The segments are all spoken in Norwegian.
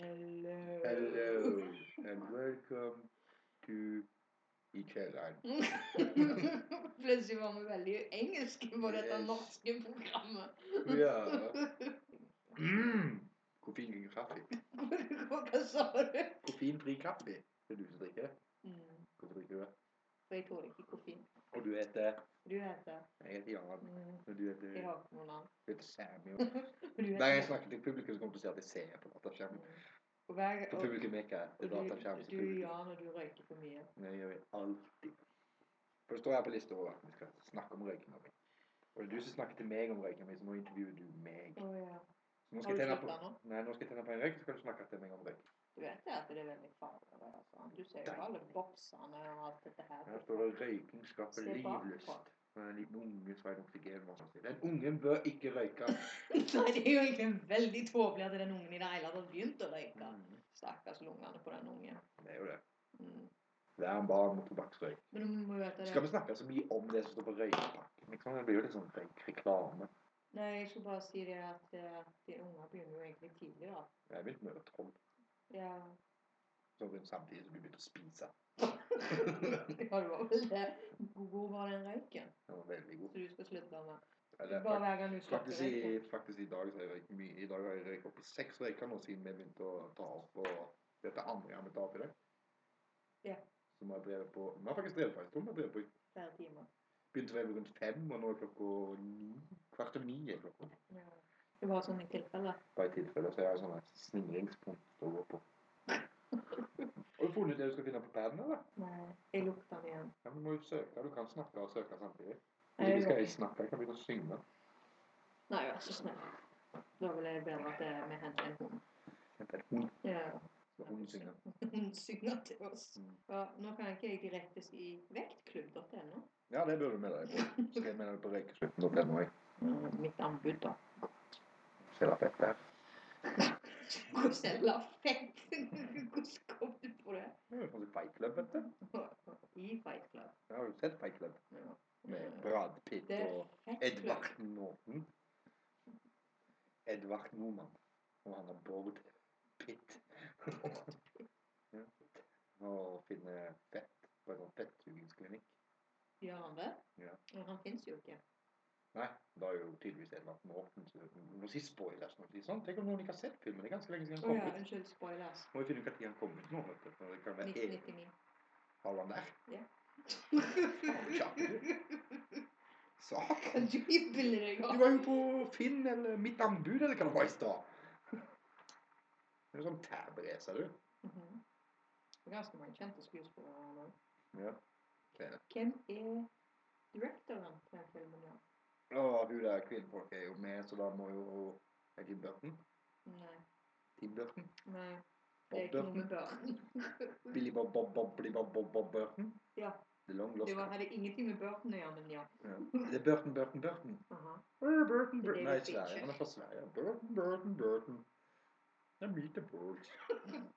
Hello. Hello and welcome to I-kjelleren. Plutselig var vi veldig engelske på dette Yes. norske programmet. Ja. Mm. Koffeinfri kaffe. Hva sa du? Koffeinfri kaffe. Det er du som drikker det. Mm, Hvorfor drikker du det? For jeg tåler ikke koffein. Og du heter Du heter Jeg heter Jan. mm, Og du heter, Jeg har ikke noe navn. du heter Samuel. Du heter- Hver gang jeg snakker til publikum, så kommer du til å si at jeg ser på dataskjermen. Mm. Og hver, For og, og publikum er ikke det er dataskjerm. du, som du publikum. Jan, og du røyker for mye. Men Det gjør vi alltid. For det står her på lista over at vi skal snakke om røykinga mi. Og det er du som snakker til meg om røykinga mi, så nå intervjuer du meg. Å ja. Så nå Har skal du jeg tenne slått på, deg nå? nei, nå skal jeg tenne på en røyk, så kan du snakke til meg om røyk. Du vet det at det er veldig farlig å være sånn. Du ser jo Deilig. alle boksene og alt dette her. Her står det 'røyking skaper Se bakpå. livlyst'. Men en liten unge som er nok til gel, må man si. Den ungen bør ikke røyke. Nei, det er jo egentlig veldig tåpelig at den ungen i det hele tatt har begynt å røyke. Mm, Stakkars lungene på den ungen. det er jo det. Mm. Vær barn mot tobakksrøyk. Men du må jo vite Skal vi det. snakke så mye om det som står på røykepakken? Liksom, det blir jo litt sånn røykreklame. Nei, jeg skulle bare si det at eh, de unge begynner jo egentlig tidlig, da. Jeg begynte med troll Ja, sånn rundt samtidig som du begynte å spise. ja det var vel det. Hvor var den røyken? Den var veldig god. Så du skal slutte med. Eller, Bare hver gang du slutter Faktisk å i, røyke. faktisk i dag så har jeg røykt mye. I dag har jeg røykt opp i seks røyker nå siden vi begynte å ta opp. Og dette er andre gang vi tar opp i dag. Ja. Så vi har drevet på Vi har faktisk drevet på en stund. Vi har drevet på Flere timer. Begynte å være rundt fem, og nå er klokka ni. Kvart over ni er klokka. Ja. Det var sånn i tilfelle. Bare i tilfelle så jeg har sånne sningringspunkt å gå på. Har du funnet det du skal finne på paden, eller? Nei, jeg lukta den igjen. Ja, men du må jo søke. Du kan snakke og søke samtidig. Nei, Ikke jeg skal gjør jeg snakke, jeg kan begynne å synge. Nei, vær så snill. Da vil jeg bedre at eh, vi henter en hund. Hun, Ja. hun synger. Hun synger til oss. Mm. Ja, nå kan jeg ikke jeg direkte si vektklubb.no. Ja, det burde du med deg på. Skal jeg med deg på røykeslutten opp igjen nå, jeg. Mm, Mitt anbud, da. Skjella fett der. Hvordan fett? Hvordan kom du på det? Det er jo sånn som Fight Club, vet du. I Fight Club. Jeg har jo sett Fight Club Ja. med Brad Pitt Det er og Fett Club. Edvard Norton. Edvard Norman. Og han er Bård Pitt. ja. Og finner fett på en sånn fettsugingsklinikk. Gjør han det? Ja. Men han fins jo ikke. Nei, da er jo tydeligvis Edvard Norton så Nå sier spoilers når de sier sånn. Tenk om noen ikke har sett filmen. Det er ganske lenge siden Å han ja, kom ut. unnskyld. Spoilers. Må jo finne ut når han kom ut nå, vet du. for Det kan være Erik 1999. Halland der. Saken! Kan du hyble deg Du av? var jo på Finn eller Mitt Anbud eller hva det var i stad. Det er sånn tab-racer, du. Mhm. Det er Ganske mange kjente skuespillere nå. Ja. Det er det. Hvem er directoren til den filmen? da? Og hun der kvinnfolk er jo med, så da må jo Er Tim Burton? Nei. Tim Burton? Nei. Det er ikke Bob noe med Burton? Børn. Billy Bob Bob Bob Billy Bob Bob Bob Burton? Ja. The Long Lost Det var, hadde ingenting med Burton å gjøre, men ja. Ja. Det er Burton, Burton, Burton. Aha. Eh, Burton, Det Burton. er Nei, det Sverige. ikke. Han er fra Sverige. Burton, Burton, Burton. Det er mye til Burton.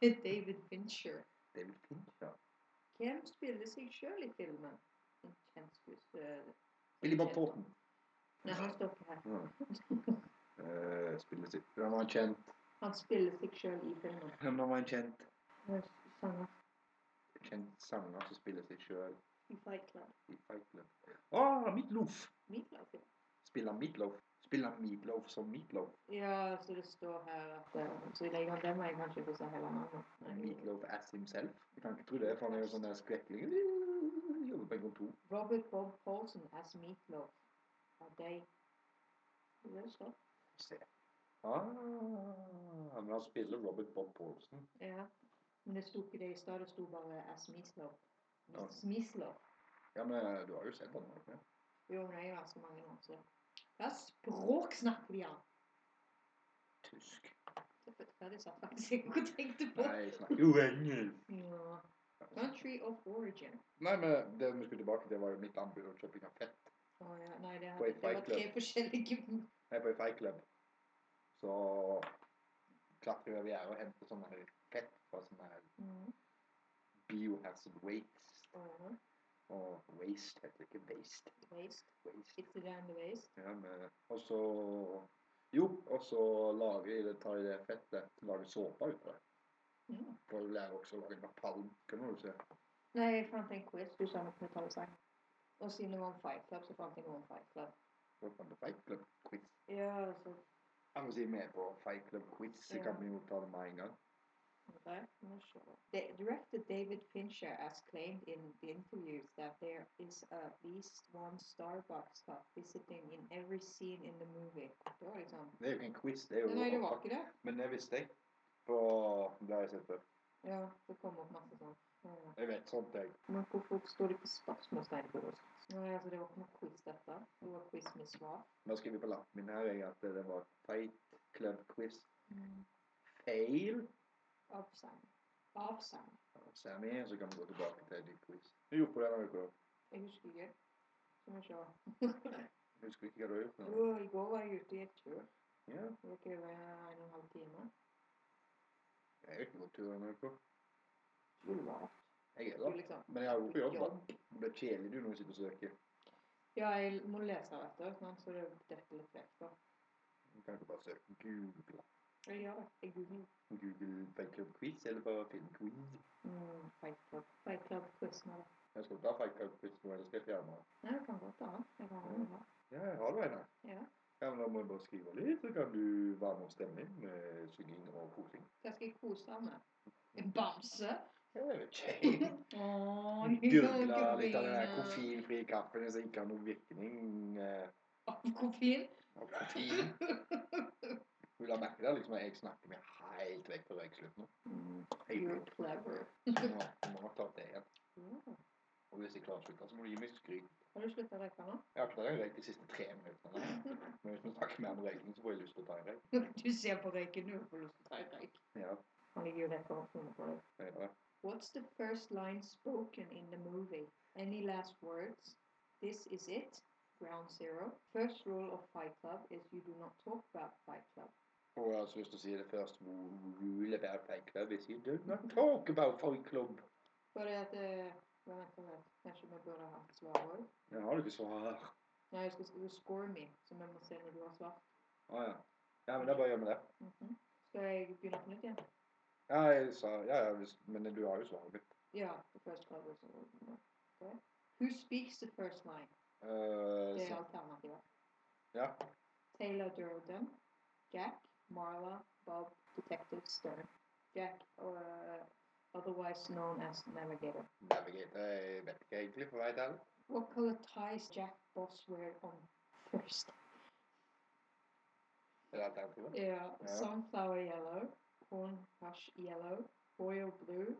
Det er David Fincher. David Fincher. Hvem spiller seg sjøl i filmen? En kjent skuespiller. Billy Bob Thornton. Nei, han står ikke her. Ja. Eh, Spiller sitt. Han var en kjent. Han spiller seg sjøl i filmen. Han var en kjent. Han er Sanger kjent sanger som spiller seg sjøl i Fight Club. i Fight Club. Ah, Meatloaf! Middelhavet. Spiller Meatloaf. Spiller Meatloaf som Meatloaf. Ja, så det står her at eh, Så jeg kan det må jeg kanskje ikke si hele navnet. Nei. Meatloaf as himself. Jeg kan ikke tro det, for han er jo sånn der skrekkelig Jobber på en kontor. Robert Bob Paulson as Meatloaf. A day. Det er sånn. Se. Ah, men han spiller Robert Bob Paulsen. Ja. Men det sto ikke det i stad. Det sto bare as Meatloaf. Ja. Meatloaf. Ja, men eh, du har jo sett han. har du ikke? Jo, men jeg har så mange år, så Hva språk snakker de, ja? Tysk. Ja, det satt faktisk ikke og tenkte på. Nei, jeg snakker jo engelsk. Ja. Country of origin. Nei, men det vi skulle tilbake til, var jo mitt anbud om kjøping av fett. Å ja, nei, det, På hadde, et det var tre fight forskjellige Jeg var i Fight Club. Så klatrer jeg over gjerdet og henter sånn her fett fra sånn her Mhm. Biohazard Waste. Mhm. Og Waste heter det ikke Waste. Waste. waste. It's down the waste. Ja, men, og så Jo, og så lager eller tar jeg det fettet og lager såpa ut av det. Mm. For å lære også å lage napalm. Kan du se. Nei, jeg fant en quiz du sa vi kunne ta og sang. Og siden det var en fight club, så fant jeg noen fight club. Hva kan du Fight Club Quiz? Ja, altså, Jeg må si med på Fight Club Quiz. Så Ja. kan vi jo ta det med en gang. Okay, I'm not sure. The director David Fincher has claimed in the interviews that there is at least one Starbucks cup visiting in every scene in the movie. Det var liksom Det er jo ikke en quiz. det er jo... Nei, det var ikke det. Men det visste jeg. På, det har jeg sett før. Ja, det kom opp masse sånn. Ja, ja. Jeg vet sånt, jeg. Men hvorfor står det ikke spørsmålstegn på oss? Nei, altså, det var ikke noe quiz, dette. Det var quiz med svar. Nå skriver jeg på lappen min her jeg, at det var Fight Club Quiz. Fail. Avsang. Avsang. Sammy, og så kan vi gå tilbake til de quiz. Du gjorde på det denne uka. Jeg husker ikke. Skal vi se. Jeg Husker ikke hva du har gjort. nå. Jo, i går var jeg ute i et tur. Ja, Det var ikke over en og en halv time. jeg har ikke gått tur denne uka. Skulle vært. Jeg er Skulle da. liksom Men jeg har jo på jobb. da. jobb. Det blir kjedelig du når du sitter og søker. Ja, jeg må lese rett og slett, så det detter litt vekk. da. Du kan ikke bare søke Google. Jeg gjør det. Jeg googler. Google Fight Club Quiz, eller bare Finn Quiz. Mm, Fight Club. Fight Club quizen er det. Jeg skal ta Fight Club Quiz nå, eller skal jeg fjerne den? Nei, det kan godt være. Jeg kan ha det. Ja, jeg har du en her. Ja. Ja, men da må jeg bare skrive litt, så kan du være med og stemme inn med synging og kosing. Hva skal jeg kose meg med? En bamse? Ja, det er jo kjedelig. Åh, Gurgla litt av den der koffeinfrie kaffen som ikke har noen virkning eh, Av koffein? av koffein. Du la merke til at liksom, jeg snakker meg helt vekk fra røykslutten. nå. Jeg You're clever. må jeg må nok ta opp det igjen. Ja. Og hvis jeg klarer å slutte, så må du gi meg skryt. Har du slutta å røyke nå? Jeg har ikke tatt en røyk de siste tre minuttene. Men hvis vi snakker mer om røyking, så får jeg lyst til å ta en røyk. Du ser på røyken, du får lyst til å ta en røyk. Ja, Han ligger jo rett over hodet på deg. jeg gjør det. What's the first line spoken in the movie? Any last words? This is it. Ground zero. First rule of Fight Club is you do not talk about Fight Club. Og jeg har også lyst til å si det først. Rule about fight club is you do not talk about fight club. Bare at eh, Hva venter jeg? Kanskje vi burde ha hatt svarord? Jeg har du ikke svar. Nei, jeg skal skrive 'score me', som jeg må se når du har svar. Å ja. Ja, men da bare gjør vi det. Mhm. Skal jeg begynne på nytt igjen? Ja, jeg sa, ja, ja, hvis, men du har jo svaret mitt. Ja. The first club is okay. Who speaks the first line? Eh, Det er så, alternativet. ja. Taylor Durden, Jack, Marla, Bob, Detective Stern. Jack, or uh, otherwise known as Navigator. Navigator, jeg vet ikke egentlig på vei til. What color ties Jack Boss wear on first? Er det alternativet? Yeah, Yeah. sunflower yellow, corn hush yellow, royal blue,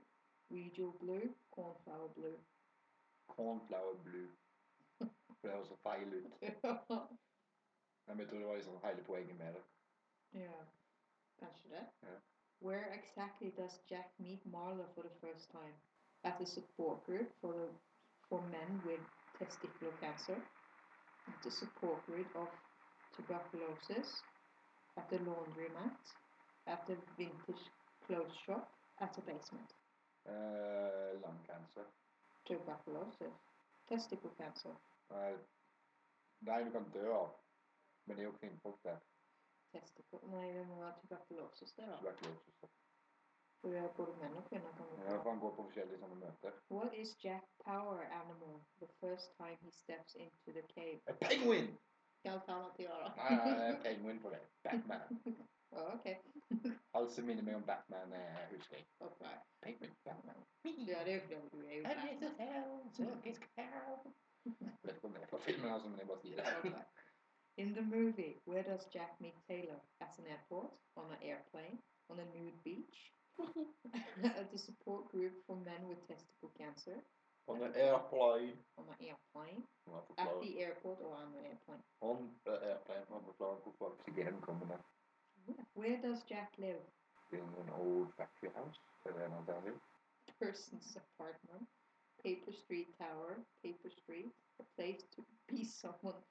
regal blue, cornflower blue. Cornflower blue. For det høres så feil ut. yeah, Nei, men Jeg tror det var liksom hele poenget med det. kanskje det. Yeah. Where exactly does Jack meet Marla for the first time? At a support group for the for men with testicular cancer, at a support group of tuberculosis, at the laundromat, at the vintage clothes shop, at the basement. Uh, lung cancer. Tuberculosis. Testicle cancer. Nei, nei, du kan dø av. Men det er jo kvinnfolk der. Testicle Nei, det må være tuberculosis, det, da. Tuberkulose. For det er både menn og kvinner kan Ja, for han går på forskjellige sånne møter. What is Jack power animal the first time he steps into the cave? Oh, A penguin! Hvilke alternativer, da? Nei, nei, nei, penguin på det. Batman. Ja, OK. Alt som minner meg om Batman, eh, husker jeg. ok. Penguin, Batman. Ja, det er jo fordi du er jo Jeg der. vet ikke om det er fra filmen, altså, men jeg bare sier det. Ok. In the movie, where does Jack meet Taylor? At an airport, on an airplane, on a nude beach, at the support group for men with testicle cancer, On an airplane. on an airplane, Må jeg at forklare- the airport or on an airplane. On an airplane. Må jeg forklare hvorfor oksygen kommer der. Where does Jack live? In an old factory house. Er det en alternativ? Person's apartment, paper street tower, paper street, a place to be someone,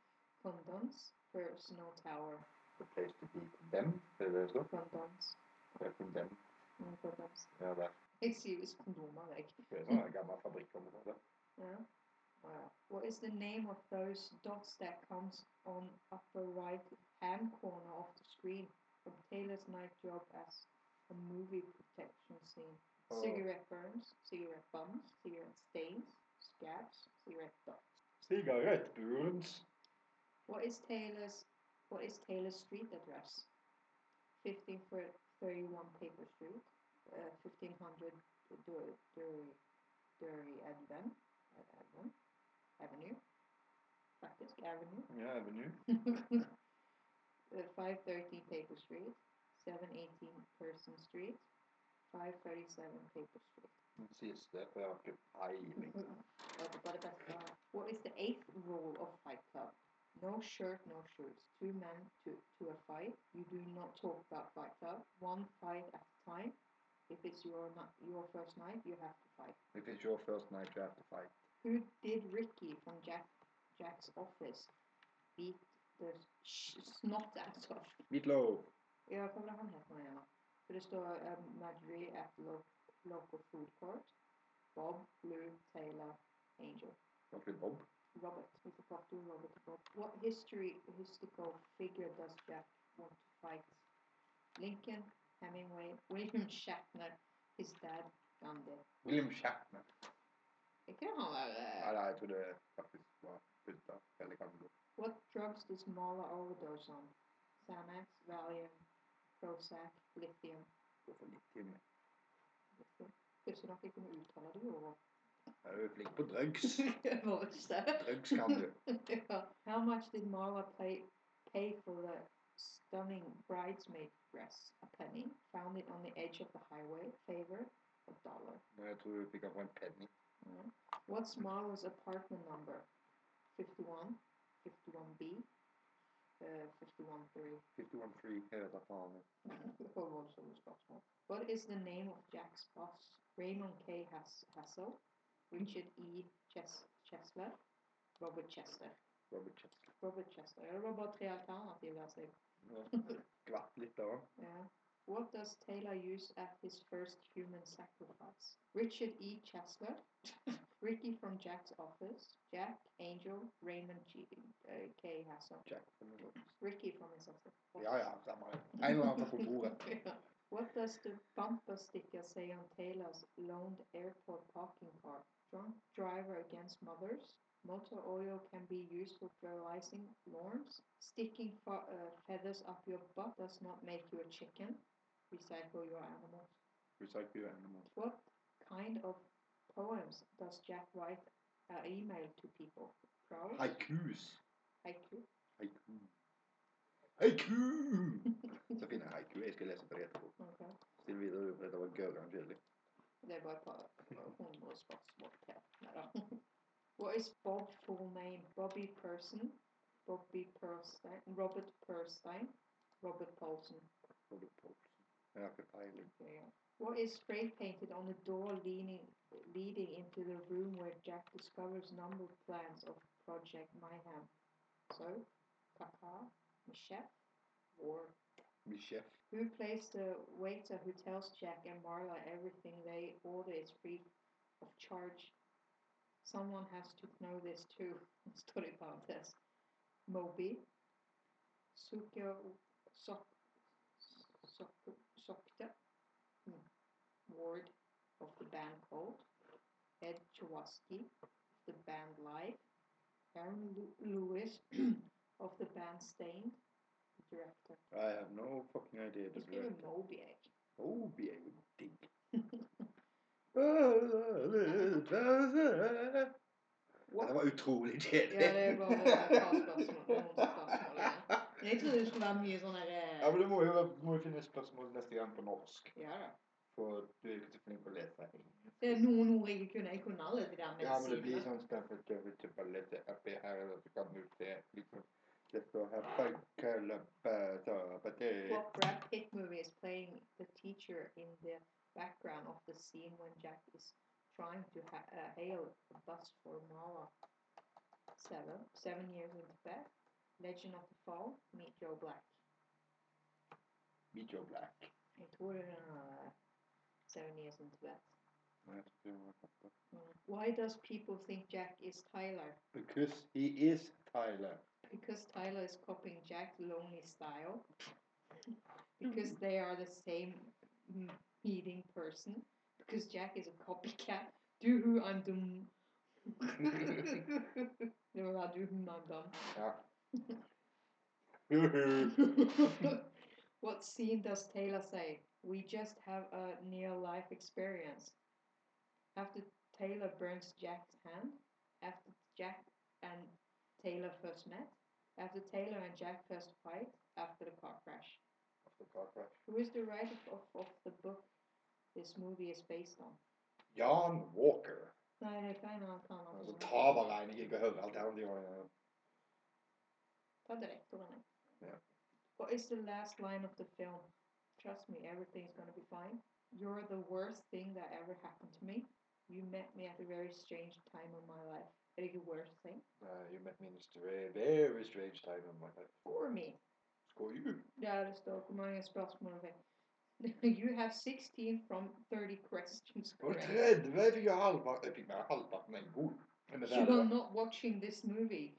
condoms, personal tower, The place to be condemned. Er det det det står? condoms, Det er condemned. mm, condoms. Ja, det er Jeg sier visst kondomer, jeg. det er sånn en gammel fabrikk. om det, det. Ja. Uh, what is the name of those dots that comes on upper right hand corner of the screen from Taylor's night job as a movie protection scene? Oh. Cigarette burns, cigarette bums, cigarette stains, scabs, cigarette dots. Sigarettburns. What is Taylor's what is Taylor's street address? Fifteen thirty-one Paper Street, uh, fifteen hundred Dury Dury Dury Adven, Adven Avenue, Faktisk Avenue. Ja, Avenue. Uh, 513 Paper Street, 718 Person Street, 537 Paper Street. Den siste, for jeg har ikke peiling. Mm, But, but the best part, what is the eighth rule of Fight Club? No shirt, no shoes. Two men to, to a fight. You do not talk about Fight Club. One fight at a time. If it's your ni- your first night, you have to fight. If it's your first night, you have to fight. Who did Ricky from Jack Jack's office beat the sh- snot out of? Meatloaf. Ja, hva var det han het nå igjen, da? For det står um, Madrid at lo- local food court. Bob, Blue, Taylor, Angel. Var ikke det Bob? Robert. We forgot to Robert. Bob. What history historical figure does Jack want to fight? Lincoln, Hemingway, William Shatner, his dad, Gandhi. William Shatner. Er ikke det han der, Nei, eh? nei, jeg tror det faktisk var putta. Eller kan gå. What drugs does Marla overdose on? Xanax, Valium, Prozac, Lithium. Gå for litt til meg. Lithium. Pussig nok ikke kunne uttale det i år. Jeg er jo flink på drugs. Det var visst det. Drugs kan du. Yeah. How much did Marla pay, pay for the stunning bridesmaid dress? A penny. Found it on the edge of the highway. Favor, a dollar. Men jeg tror vi fikk den for en penny. What's Marla's apartment number? 51, 51B, uh, 5130. 51 free. Jeg vet da faen. Before Rolls Royce Boxmore. What is the name of Jack's boss? Raymond K. Hass- Hassel, Richard E. Ches- Chesler, Robert Chester. Robert Chester. Robert Chester. Ja, det var bare tre alternativer. der, så jeg Glatt litt da. Yeah. What does Taylor use at his first human sacrifice? Richard E. Chesler, Ricky from Jack's office, Jack, Angel, Raymond G. Uh, K. Hassel, Jack. eller noe sånt. Ricky from his office. Ja, ja. samme det. En eller annen på bordet. Yeah. What does the bumper sticker say on Taylor's loaned airport parking car? Drunk driver against mothers. Motor oil can be used for fertilizing lawns. Sticking fe- uh, feathers up your butt does not make you a chicken. Recycle your animals. Recycle animals. What kind of poems does Jack write uh, email to people? Prose? Haikus. Haiku? Haiku. Haiku! Så finner jeg haiku. Jeg skal lese på det etterpå. Okay. Still videre, for dette var gørran kjedelig. Det er bare et par hundre spørsmål til. Neida. What is Bob's full name? Bobby Person? Bobby Perstein? Robert Perstein? Robert Paulson? Robert Paulsen. Jeg har ikke peiling. Okay, yeah. What is spray painted on the door leaning, leading into the room where Jack discovers number plans of Project Mayhem? So, Papa, Michelle, or Min sjef. Who plays the waiter who tells Jack and Marla everything they order is free of charge? Someone has to know this too. Står det i parentes. Moby. Sukyo Sok... Sok... Sokta. Hmm. Ward of the band Cold. Ed Chawaski of the band Live. Aaron Lu- Lewis of the band Stained. The director. I have no fucking idea. Du Det skriver blir Moby, jeg. Obi er jo digg. Dette What? var utrolig kjedelig. Ja, det er bare et par spørsmål. Noen spørsmål igjen. Jeg trodde det skulle være mye sånn her Ja, eh, men du må jo må jo finne spørsmål neste gang på norsk. Ja da. For du er jo ikke så flink til å lese. Det er noen ord jeg ikke kunne. Jeg kunne alle de der Ja, men det blir medisinene. sånn Stanford Cambridge Ballette oppi her, eller så kan du se liksom Det står her Bankalabatabaté. What Brad Pitt movie is playing the teacher in the background of the scene when Jack is trying to ha uh, hail a bus for Mara? Seven. Seven Years in Tibet. Legend of the Fall. Meet Joe Black. Video Black. Jeg tror det er uh, Seven Years in Tibet. Mm. Nei, jeg tror ikke jeg har hørt det. Why does people think Jack is Tyler? Because he is Tyler. Because Tyler is copying Jack's lonely style. because they are the same mm, eating person. Because Jack is a copycat. Du who I'm dum. Det var da du who I'm Ja. dum. what scene does Taylor say? We just have a near life experience. After Taylor burns Jack's hand, after Jack and Taylor first met, after Taylor and Jack first fight, after the car crash. After car crash. Who is the writer of, of the book this movie is based on? Jan Walker. Nei, det kan han kan han Altså, ikke. ta bare en, ikke hør alt det andre. ja. Ta direktoren, jeg. Ja. What is the last line of the film? Trust me, everything's gonna be fine. You're the worst thing that ever happened to me. You met me at a very strange time of my life. Er det ikke worst thing? Uh, you met me in a stra- very strange time in my life. For me. Score you. Ja, det står hvor mange spørsmål det er. You have 16 from 30 questions Og correct. 30 fikk jeg halvparten. Jeg fikk bare halvparten en god. Men det You er are det. not watching this movie.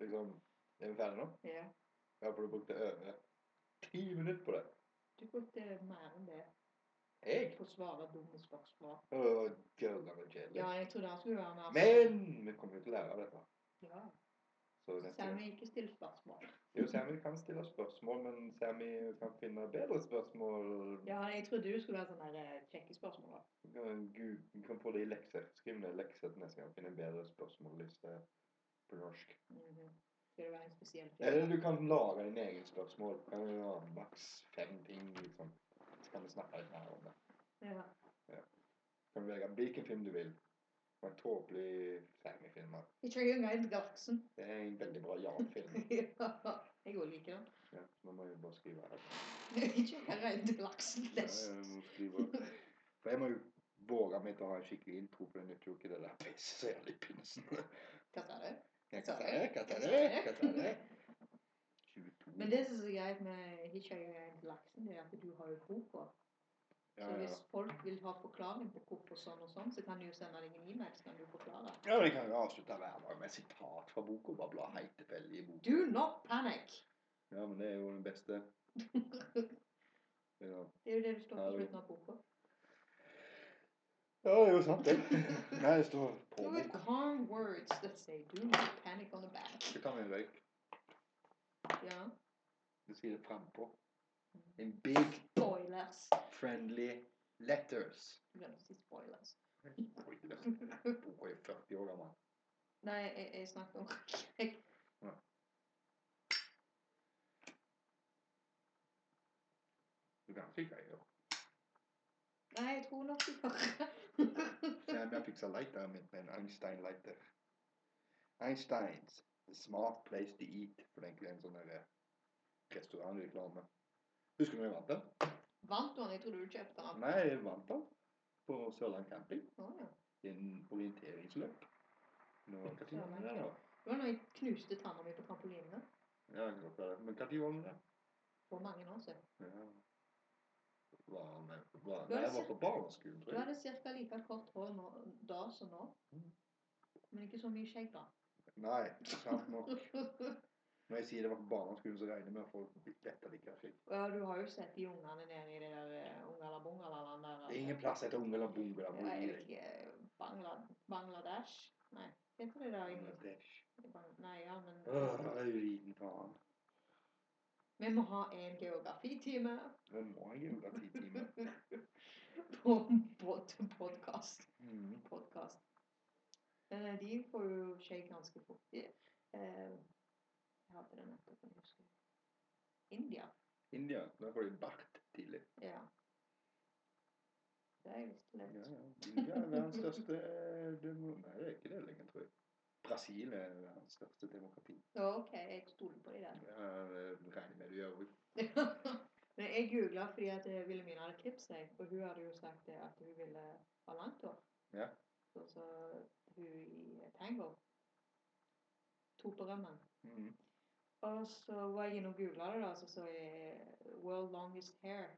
Liksom, er vi ferdige nå? Ja, Jeg håper du brukte over 10 minutter på det. du brukte mer enn det Jeg? på å svare dumme spørsmål. Åh, gørla med kjedelig. Ja, jeg trodde han skulle være mer Men vi kommer jo til å lære av dette. Ja, Så så neste gang. Sammy ikke stille spørsmål. Jo, Sammy kan stille spørsmål, men Sammy kan finne bedre spørsmål. Ja, jeg trodde du skulle være sånn der eh, kjekke spørsmål. da. Du kan- Gud, du kan få det i lekser. Skriv ned lekser til neste gang. Finn en bedre spørsmålliste på norsk. Mhm. Skal det være en spesiell film? Eller du kan lage dine egne spørsmål. Kan du ha maks fem ting, liksom. Så kan vi snakke litt mer om det. Ja. Kan du velge hvilken film du vil. Og en tåpelig Sammy-film. da. Jeg trenger en Rein Garksen. Det er en veldig bra Jan-film. ja, jeg òg liker den. Ja, nå må jeg bare skrive her. Ikke Rein Garksen Ja, best. jeg må skrive. For jeg må jo våge meg til å ha en skikkelig intro, for det nytter jo ikke det der peiset så jævlig i pinsen. Hva sa du? Jeg kan ta det, kan ta det, kan ta det. 22. Men det som er så greit med Hitchhiker Guide til laksen, det er at du har jo boka. ja, Så ja. hvis folk vil ha forklaring på hvorfor sånn og sånn, så kan de jo sende deg en e-mail, så kan du forklare. ja, vi kan jo avslutte hver dag med et sitat fra boka. Bare bla helt tilfeldig i boka. Do not panic! Ja, men det er jo den beste. Ja, Det er jo det du står på Ja, det- slutten av boka. ja det er jo sant, det. Nei, det står på Do it boka. calm words that say do not panic on the back. Skal ta med en røyk. Ja. Du sier det frampå. In big Spoilers. friendly letters. Glemte å si spoilers. Boka er 40 år gammel. Nei, jeg, jeg snakket om jeg, Du kan sikkert gjøre Nei, jeg tror nok du hører. Sam, jeg fiksa lighteren min med en Einstein-lighter. Einsteins The Smart Place to Eat. For det er egentlig en sånn der, eh, restaurantreklame. Husker du når jeg vant den? Vant du den? Jeg trodde du kjøpte den. Nei, jeg vant den på Sørland camping. Å, ja. I en orienteringsløp. Nå, hva tid var det da? Det var da jeg knuste tanna mi på trampolinene. Ja, jeg klarte det. Men hva tid var det da? For mange år siden. Ja. Var han med? Var, Du har nei, jeg var sett- på barneskolen, Du tror jeg. hadde ca. like kort hår nå, da som nå. Mm. Men ikke så mye skjegg, da. Nei, sant nok. Når jeg sier det var på barneskolen, så regner jeg med at folk dette liker jeg ikke. ja, du har jo sett de ungene nede i det der eh, Ungala-bungalaland der. altså. Det er ingen plass etter unge eller bunga. Ja, jeg vet ikke. eh, Bangla, Bangladesh? Nei, hva heter det der? i- Bangladesh. i Bang- Nei, ja, men Øh, liten faen. Vi må ha en geografitime Det må jeg gjøre ti timer. på, på, til podkast. Mm. podkast. De får jo skje ganske fort. De, eh, jeg hadde det nettopp, jeg husker. India. India. Da får de bart tidlig. Ja. Det har jeg visst Ja, levd. ja. India er verdens største eh, demo... Nei, det er ikke det lenger, tror jeg. Brasil er verdens største demokrati. Ja, ok, jeg stoler på deg der. Ja, det eh, regner med du gjør. vel. Men jeg googla fordi at eh, Wilhelmina hadde klippet seg, og hun hadde jo sagt det at hun ville ha langt hår. Ja. Sånn som hun i Tango. To på rømmen. Mm. Og så var jeg inne og googla det, da, så så jeg 'World Longest Hair'.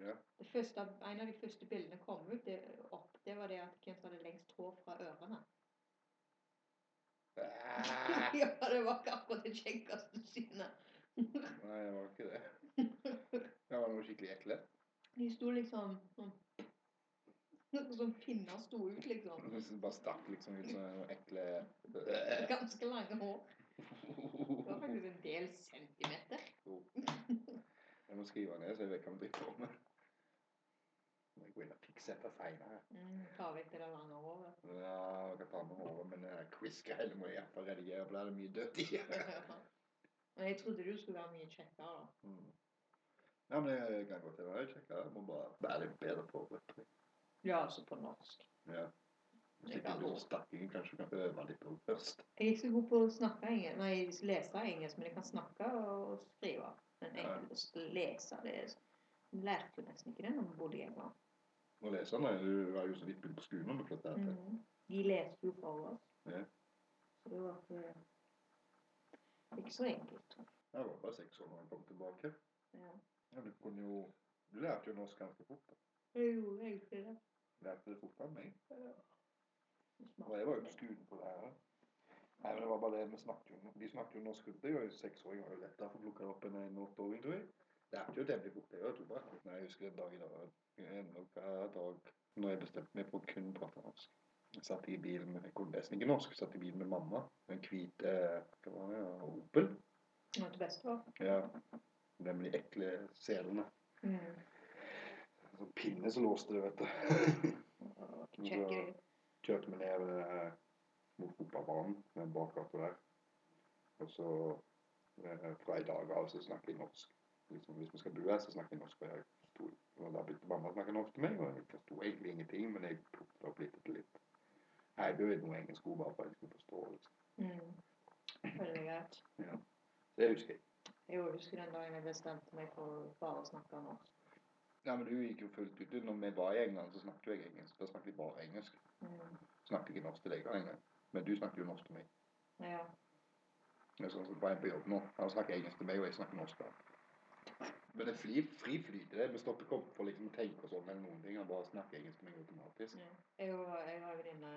Ja. Det første, en av de første bildene kom ut, det, opp, det var det at hvem som hadde lengst hår fra ørene. Ah, ja, det var ikke akkurat det kjekkeste synet. Nei, det var ikke det. Det var noe skikkelig ekle. De sto liksom sånn Noen sånn pinner sto ut, liksom. Som bare stakk liksom ut sånne noe ekle Ganske lange hår. Det var faktisk en del centimeter. Jeg må skrive ned, så jeg vet hva vi driver på med. Må jeg gå inn og fikse dette seinere. Mm, ta vekk det der lange håret. Ja, jeg kan ta med håret, men den quiz-greiene må jeg iallfall redigere, for da er det mye dødt i. Men jeg trodde du skulle være mye kjekkere, da. Mm. Ja, men jeg kan godt være kjekk. Jeg må bare være litt bedre forberedt. Ja, altså på norsk. Ja. Hvis ikke kan- lårstakkingen kanskje kan øve litt på først. Jeg er ikke så god på å snakke engelsk, nei, lese engelsk, men jeg kan snakke og skrive. Men Ja. engelsk å lese det er- Jeg lærte jo nesten ikke det når vi bodde i England. Nå leser han, du var jo så vidt begynt på skolen når vi flyttet her til. Mhm. De leste jo for oss. Ja. Så det var ikke, ikke så enkelt. Jeg var bare seks år da jeg kom tilbake. Ja. Ja, du kunne jo... Du lærte jo norsk ganske fort. da. Jeg gjorde egentlig det. Lærte det fortere enn meg. Det Og smakte jeg var jo på skolen på lærere. Nei, men det var bare det vi snakket jo. De snakket jo norsk rundt deg, og seksåringer var jo lettere for å plukke opp enn en åtteåring, tror jeg. Lærte jo temmelig fort, jeg tror bare. Nei, jeg husker en dag i dag, ennå hver dag, når jeg bestemte meg for å kun prate norsk. Jeg satt i bilen med, jeg kunne nesten ikke norsk, jeg satt i bilen med mamma, en hvit, eh, hva var det, ja, Opel. noe av det beste var. Ja, nemlig ekle selene. Mm. Sånn pinne som låste det, vet du. Det var ikke Ja. kjekkere. kjørte vi ned eh, mot fotballbanen, den bakgata der. Og så eh, fra i dag av så snakker jeg norsk. Liksom, hvis vi skal bo her, så snakker jeg norsk. Og, jeg forsto, og da begynte mamma å snakke norsk til meg, og jeg forsto egentlig ingenting, men jeg plukket det opp litt etter litt. Nei, Jeg behøvde noe engelsk ord bare for at jeg skulle forstå. Liksom. Mm. Veldig greit. Det husker jeg. Jeg husker den dagen jeg bestemte meg for å bare å snakke norsk. Nei, men Du gikk jo fullt ut. Når vi var i England, så snakket jo jeg engelsk. Da snakket vi bare engelsk. Mm. Snakket ikke norsk til deg engang. Men du snakket jo norsk til meg. Ja. Det er sånn som bare på jobb nå. Han snakker engelsk til meg, og jeg snakker norsk til han. Men det er fri, fri flyt i det. Vi stopper ikke opp for liksom å tenke oss om eller noen ting. Han bare snakker engelsk til meg automatisk. Ja. Jeg og jeg har en venninne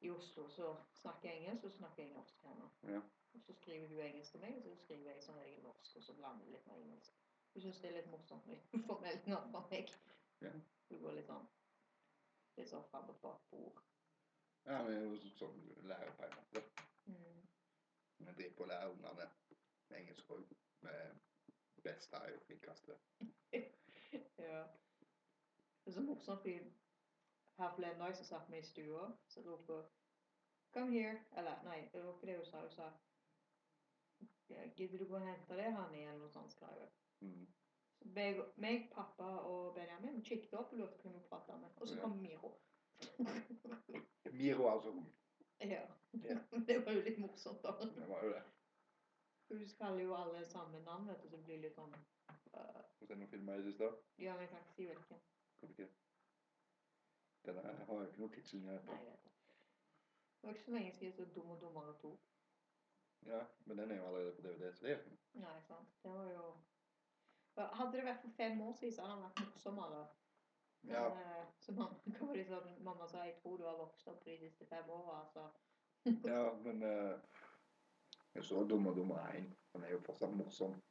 i Oslo som snakker engelsk, og så snakker jeg norsk til henne. Ja. Og så skriver hun engelsk til meg, og så skriver jeg som regel norsk, og så blander jeg litt med engelsk. Hun syns det er litt morsomt når hun får meldinger fra meg. Ja. Hun går litt sånn litt sånn fram og tilbake på ord. ja, men det er jo sånn du lærer på en måte. Mm. Vi driver på å lære ungene engelsk òg. eh, Best er jo flinkest. Ja. Det er så morsomt, fordi her forleden dag så satt vi i stua, så ropte hun 'Come here'. Eller nei, det var ikke det hun sa. Hun sa 'Gidder du gå og hente det, Hanni?' eller noe sånt. skrev hun. Mm. Så Meg, meg, pappa og Benjamin kikket opp og lurte på hvem vi prata med. Og så Ja. kom Miro. Miro, altså. hun. ja. Ja. Det var jo litt morsomt, da. Det var jo det. Hun kaller jo alle samme navn, vet du, så det blir litt sånn øh, Og så er det noen filmer i det siste. Ja, men jeg kan ikke si hvilken. Hvorfor ikke? Denne her har jo ikke noe tidslinje. Nei, jeg vet ikke. Det var ikke så lenge siden så Dum og dummere to. Ja, men den er jo allerede på DVD, så det er Nei, sant. Det var jo Hva- Hadde det vært for fem år siden, så hadde han vært morsommere. Men, Ja. eh, Så mamma, hva var det sånn, mamma sa jeg tror du har vokst opp de siste fem altså. åra, så Ja, men eh, jeg så dum og dummer én. Den er jo fortsatt morsom.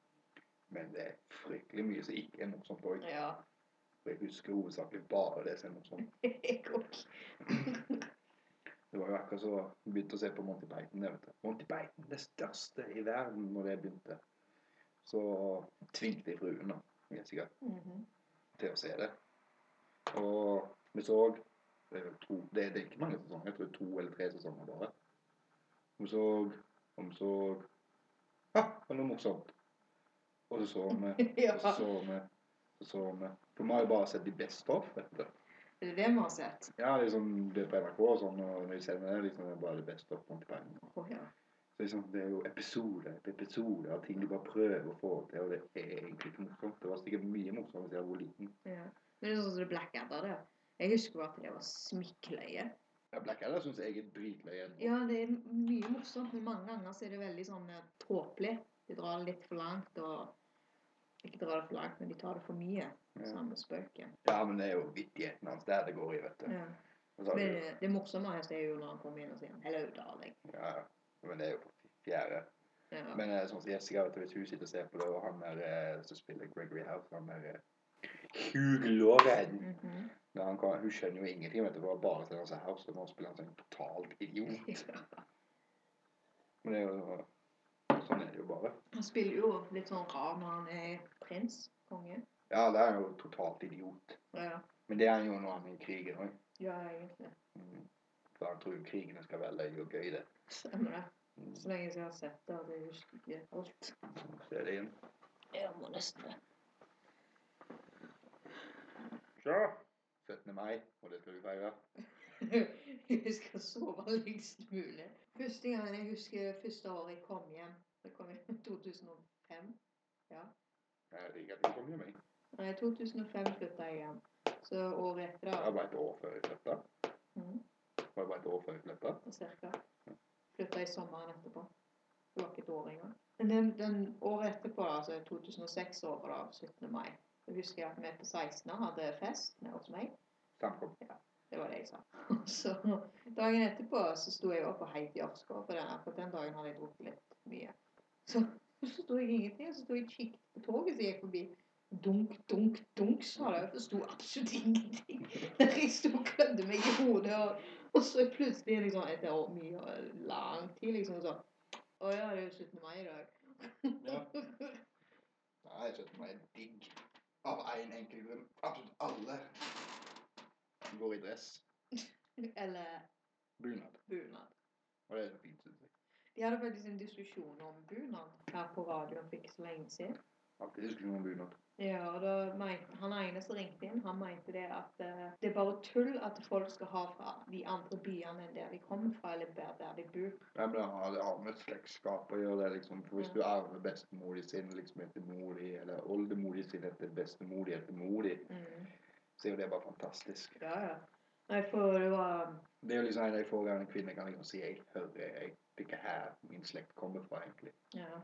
Men det er fryktelig mye som ikke er morsomt òg. ja. Og jeg husker hovedsakelig bare det som er morsomt. Jeg òg. Det var jo akkurat så jeg begynte å se på Monty Python. Jeg vet det. Monty Python, det største i verden, når det begynte. Så tvingte jeg fruen, da, Jessica, Mhm. til å se det. Og vi så Det er vel to Det, det er ikke mange sesonger. Jeg tror to eller tre sesonger bare. Hun så Og vi så Ja, det var noe morsomt. Og så så vi Og så ja. så vi så så vi For vi har jo bare sett de beste av, vet du. Det er det vi har sett. Ja, liksom det er på NRK og sånn, og når vi ser det, liksom, det er bare det beste av Monty Python. Åh, ja. Så liksom, det er jo episode etter episode av ting de bare prøver å få til, og det er egentlig ikke morsomt. Det var sikkert mye morsommere da jeg var liten. ja. Men det er sånn som det Blackadder der. Jeg husker bare at det var smikkløye. Ja, Black Adder syns jeg er dritløye. Ja, det er mye morsomt, men mange ganger så er det veldig sånn eh, tåpelig. De drar det litt for langt og Ikke drar det for langt, men de tar det for mye. den samme spøken. Ja, men det er jo vittigheten hans der det går i, vet du. Ja. Og så har Men du- eh, det morsomme her er jo når han kommer inn og sier 'hello, darling'. Ja, ja. men det er jo på fjerde. Ja. Men eh, sånn som Jessica, vet du, hvis hun sitter og ser på det, og han der eh, som spiller Gregory House, han der eh, Hugh Lauren Mhm. Når han kom, Hun skjønner jo ingenting, vet du, for bare til hans house, og nå spiller han sånn totalt idiot. Men det er jo Sånn er det jo bare. Han spiller jo litt sånn rar når han er prins, konge. Ja, det er han jo totalt idiot. Ja, Men det er han jo når han er i krigen òg. ja egentlig. For han tror jo krigene skal være løye og gøy, det. Stemmer det. Mm. Så lenge siden jeg har sett det, at jeg husker ikke alt. Så er det igjen. Jeg må nesten det. Så! 17. mai, og det skal vi feire. Jeg skal sove lengst mulig. Første gangen jeg husker første året jeg kom hjem, det kom jeg i 2005. Jeg liker at du kom hjem, jeg. Nei, 2005 flytta jeg hjem. Så året etter, Jeg da, var bare et år før jeg flytta. Mhm. Var bare et år før jeg flytta. cirka, flytta jeg sommeren etterpå. Det var ikke et år engang. Men den, den året etterpå, da, altså 2006-året, da, 17. mai, så husker jeg at vi på 16. hadde fest nede hos meg. Samkom. Det var det jeg sa. Så dagen etterpå så sto jeg opp og heit i Asker, for den, for den dagen hadde jeg drukket litt mye. Så forsto jeg ingenting, og så sto jeg og kikket på toget som gikk forbi. Dunk, dunk, dunk, sa det. Jeg forsto absolutt ingenting. Jeg sto og klødde meg i hodet, og, og så plutselig, liksom, etter år- mye og lang tid, liksom sånn Å ja, det er jo 17. mai i dag. Ja. Nei, 17. mai er digg. Av én enkel grunn. Absolutt alle går i dress. Eller Bunad. bunad. Og det er så fint, syns jeg. De hadde faktisk en diskusjon om bunad her på radioen for ikke så lenge siden. Alltid diskusjon om bunad. Ja, og da mente, Han ene som ringte inn, han mente det at eh, det er bare tull at folk skal ha fra de andre byene enn der de kommer fra, eller der der de bor. Nei, men det har, det har med slektskap å gjøre. det, liksom. For Hvis du arver bestemor di sin liksom etter mor di, eller oldemor di sin etter bestemor di etter mor di, så er jo det bare fantastisk. Ja, ja. Nei, for det var Det er jo liksom en av de få gangene kvinner kan liksom si 'jeg hører jeg, det er ikke her min slekt kommer fra', egentlig. Ja.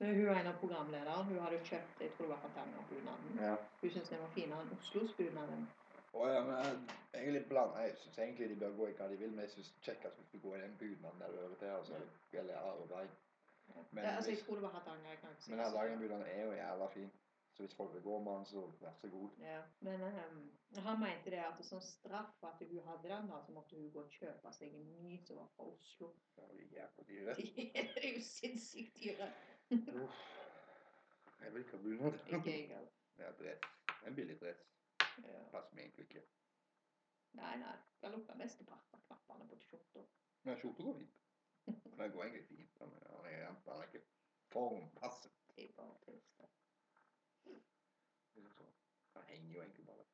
Men hun ene programlederen, hun hadde kjøpt jeg tror det var Hardangerbunaden. Ja. Hun syntes den var finere enn Oslos bunaden. Å ja, men jeg, jeg er litt blanda. Jeg syns egentlig de bør gå i hva de vil, men jeg syns kjekkest hvis du går i den bunaden der du hører til, altså, eller arbeid. Men ja, altså, jeg hvis- tror det var Hardanger. jeg kan ikke si Men det den sikkert. dagen bunaden er jo jævla fin, så hvis folk vil gå med den, så vær så god. Ja, men ehm, han mente det at som straff for at hun hadde den, da, så måtte hun gå og kjøpe seg en ny som var fra Oslo. Det er jo jævla dyre. Det er jo sinnssykt dyre. Uff. Jeg vil ikke ha bunad. Ikke jeg heller. Det er dress. En billig dress. Ja. Passer meg egentlig ikke. Nei, nei. Jeg lukker mesteparten av knappene på skjorta. Men skjorta går fint. Den går egentlig fint. Den er, den er, den er ikke formpasset. Det er bare trist. Liksom sånn. Den henger jo egentlig bare.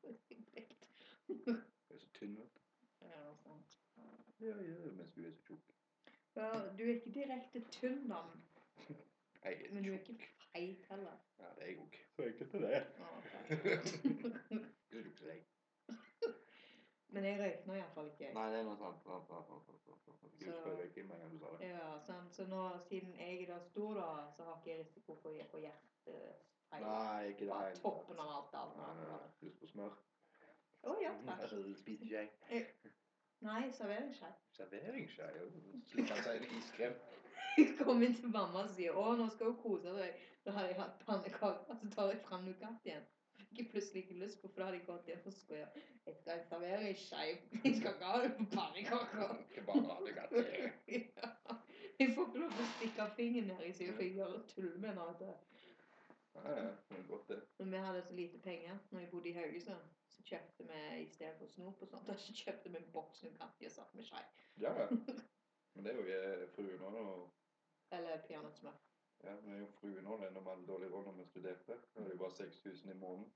Perfekt. Den er så tynn, vet du. Ja, sant. Ja, ja, mens du er så tjukk. Ja, du er ikke direkte tynn, da, Jeg er men du er tjukk. ikke feit heller. Ja, det er jeg òg. Så enkelt er det. Ja, ok. Du er ikke deg. Men jeg røykner iallfall ikke. jeg. Nei, det er noe sant. sant, sant, sant, sant, sant, sant, sant. Så- Gud spør ikke meg om du sa det. Ja, sant. Så nå, siden jeg er da stor, da, så har ikke jeg risiko for å få hjertefeil. Nei, ikke det Bare hele tatt. toppen av alt det Nei, nei, andre. nei. Lyst på smør? Å ja, takk. Det spiser ikke jeg. Nei, serveringsskei. Serveringsskei? jo. Slik han sier en iskrem. Kom inn til mamma og sier 'Å, nå skal hun kose deg'. Da hadde jeg hatt pannekaker, så tar jeg fram Nougat igjen. Fikk jeg plutselig ikke lyst på, for da hadde jeg gått hjem og skulle gjøre Jeg skal servere skeiv. Jeg skal ikke ha det på pannekaker. Ikke bare ha det godt. ja. Jeg får ikke lov til å stikke fingeren ned i siden, for jeg gjør et tull med henne. vet du. Ja, ja. Det er godt, det. Når vi hadde så lite penger når jeg bodde i Haugesund, så kjøpte vi i stedet for snop og sånt, da kjøpte vi en boks Nougat og satt med skei. Ja, ja. Men det er jo eh, fruen òg, og Eller peanøttsmør. Ja, men jeg og fruen òg, når vi hadde dårlig råd når vi studerte. Da var det bare 6000 i måneden.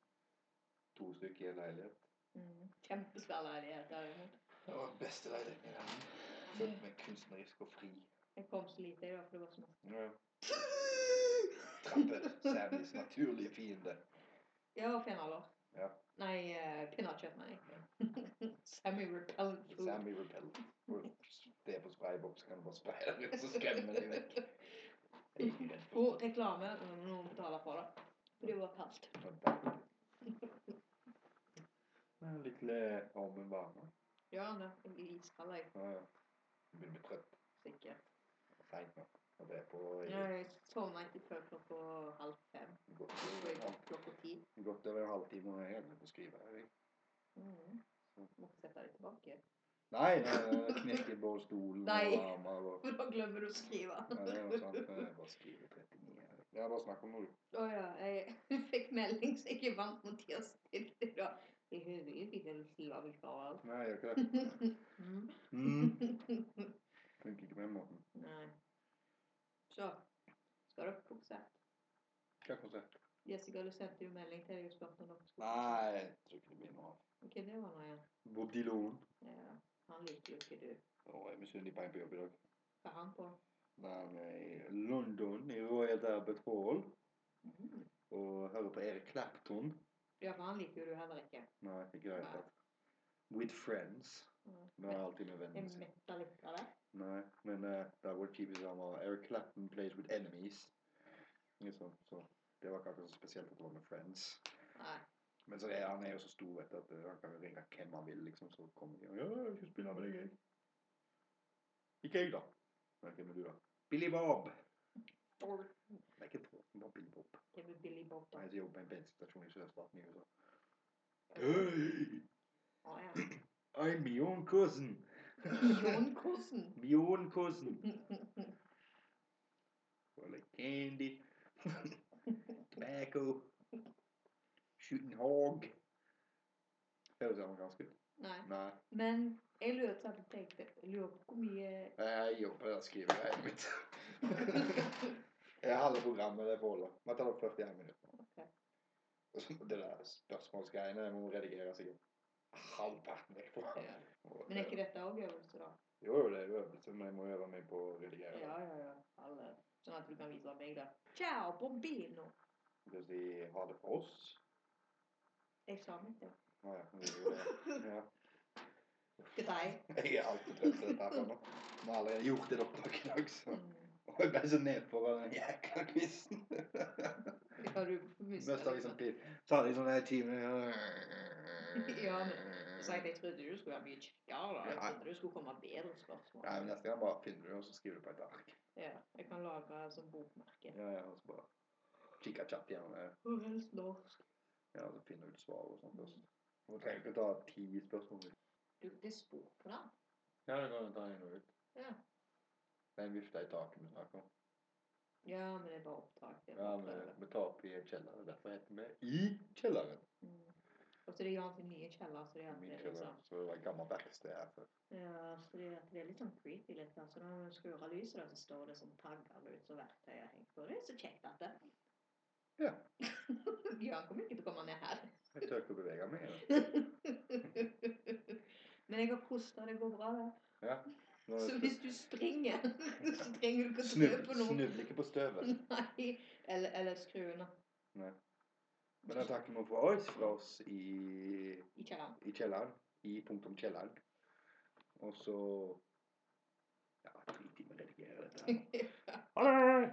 To stykker i en leilighet. Mm. Kjempesvær leilighet derimot. Det var den beste leiligheten i verden. Følte meg kunstnerisk og fri. Jeg kom så lite, jeg, da, for det var så mye. Ja. Trapper. Sammys naturlige fiende. Ja, fenalår. Ja. Nei, uh, pinnekjøtt, mener jeg. Semi-repellent food. Sammy Repel. Det er på sprayboks, kan du bare spraye deg ut, så skremmer de vekk. Jeg er ikke redd for Og reklame, nå må noen betale for det. For det var kaldt. sånt. lille ormen varme. Ja, han er iskald, jeg, Ja, ja. Du begynner å bli trøtt. sikkert. Det er Seint nå. Og det er på Ja, Jeg sovna ikke før klokka halv fem. godt, Så jeg over- opp klokka ti. godt over en halvtime og jeg er på å skrive her. jeg. Mm. Måtte sette deg tilbake. Nei, jeg knekker på stolen Nei. og armer og For da glemmer du å skrive. ja, det er jo sant. Jeg bare skriver 39 her. Ja, bare snakk om noe. Å ja, jeg fikk melding så jeg ikke vant Mathias til i dag. Jeg hører jo ikke helt stille av likevel. Nei, jeg gjør ikke det. Mm. Mm. Funker ikke på den måten. Nei. Så skal dere på konsert. Hva kan du si? Jessica, du sendte jo melding til deg og spurte om dere skulle på konsert. Nei, jeg tror ikke det blir noe av. Ok, det var nå, ja. Bob Dylan. ja. Han liker jo ikke du. Å, jeg misunner på en på jobb i dag. Hva er han på? Nei, han er i London, i Royal Albert Hall, Mhm. og hører på Erik Clapton. Ja, for han liker jo du heller ikke. Nei, ikke i det hele Nei. tatt. With friends. Mm. Men han er alltid med Jeg vennene sine. metta litt av det. Nei, men eh, det var typisk han var Eric Clapton plays with enemies. Liksom, så det var ikke akkurat så spesielt at det var med friends. Nei. Men så er han er jo så stor vet du, at eh, han kan jo ringe hvem han vil, liksom, så kommer de og ja, jeg skal spille med deg, jeg. Ikke jeg, da. Nei, hvem er du, da? Billy Bob. Or, Det er ikke Tråten, bare Billy Bob. det blir Billy Bob, da. Han jobber på en bensinstasjon i sørstaten i USA. Hey, Å ja. I'm your own cousin. Jon Kosen. My own cousin. Or like candy, tobacco, shooting hog. Høres amerikansk ut? Nei. Nei. Men jeg lurer på, jeg tenkte, jeg lurer på hvor mye Jeg jobber på det skrivegreiet mitt. Jeg har halve programmet det forholdet. Vi tar opp 41 minutter. Ok. Og så Det der spørsmålsgreiene må redigere sikkert halvparten vekk på. Ja. Men er ikke dette òg øvelse, da? Jo, jo, det er jo øvelse, men jeg må øve meg på å redigere. Ja, ja, ja. Alle. Sånn at du kan vise meg det. Ciao, bombino! Det vil si ha det for oss. Jeg sa mitt, ja. Nei, det er jo det. Ja. Til deg. Jeg er alltid trøtt i dette her nå. Vi har allerede gjort et opptak i dag, så Mm. Og jeg ble så nedfor av den jækla quizen. Det har du mista. Mest av liksom pil. Ta det i sånne her timer Ja, Så jeg, jeg trodde du skulle være mye kjekkere. da. Jeg Ja. trodde du skulle komme med bedre spørsmål. Nei, men neste gang bare finner du det, og så skriver du på et ark. Ja, jeg kan lage som bokmerke. Ja, ja, og så bare kikke kjapt gjennom det. Hvor helst norsk. Ja, så finner du ut svaret og sånt også. Du trenger ikke ta ti spørsmål. Du, det er spor på den. Ja, det kan du ta en og ut. Ja. Det er en vifte i taket vi snakker om. ja, men det er bare opptak. Det er Ja, bare men prøve. vi tar opp i kjelleren. Derfor heter vi I kjelleren. Mm. Og så er det jo alltid nye kjeller. Så det er Min alltid liksom kjeller. Så det var et gammelt verksted her før. Ja, fordi at det er litt sånn creepy litt. Altså, når du skrur av lyset, da, så står det sånn tagger ut som verktøy er hengt på. Det er så kjekt at det. Ja. Bjørn kommer ikke til å komme ned her. Jeg tør ikke å bevege meg. eller? Men jeg har kosta, det går bra, det. Ja. Nå er Så det hvis du springer, så trenger du ikke å snu Snubb, på noe. snubb ikke på støvet. Nei. Eller, eller skru unna. Men jeg takker noe for oss fra oss i, I kjelleren. i kjelleren. I punktum kjelleren. Og så Ja, drit i å redigere dette. her. Ha det!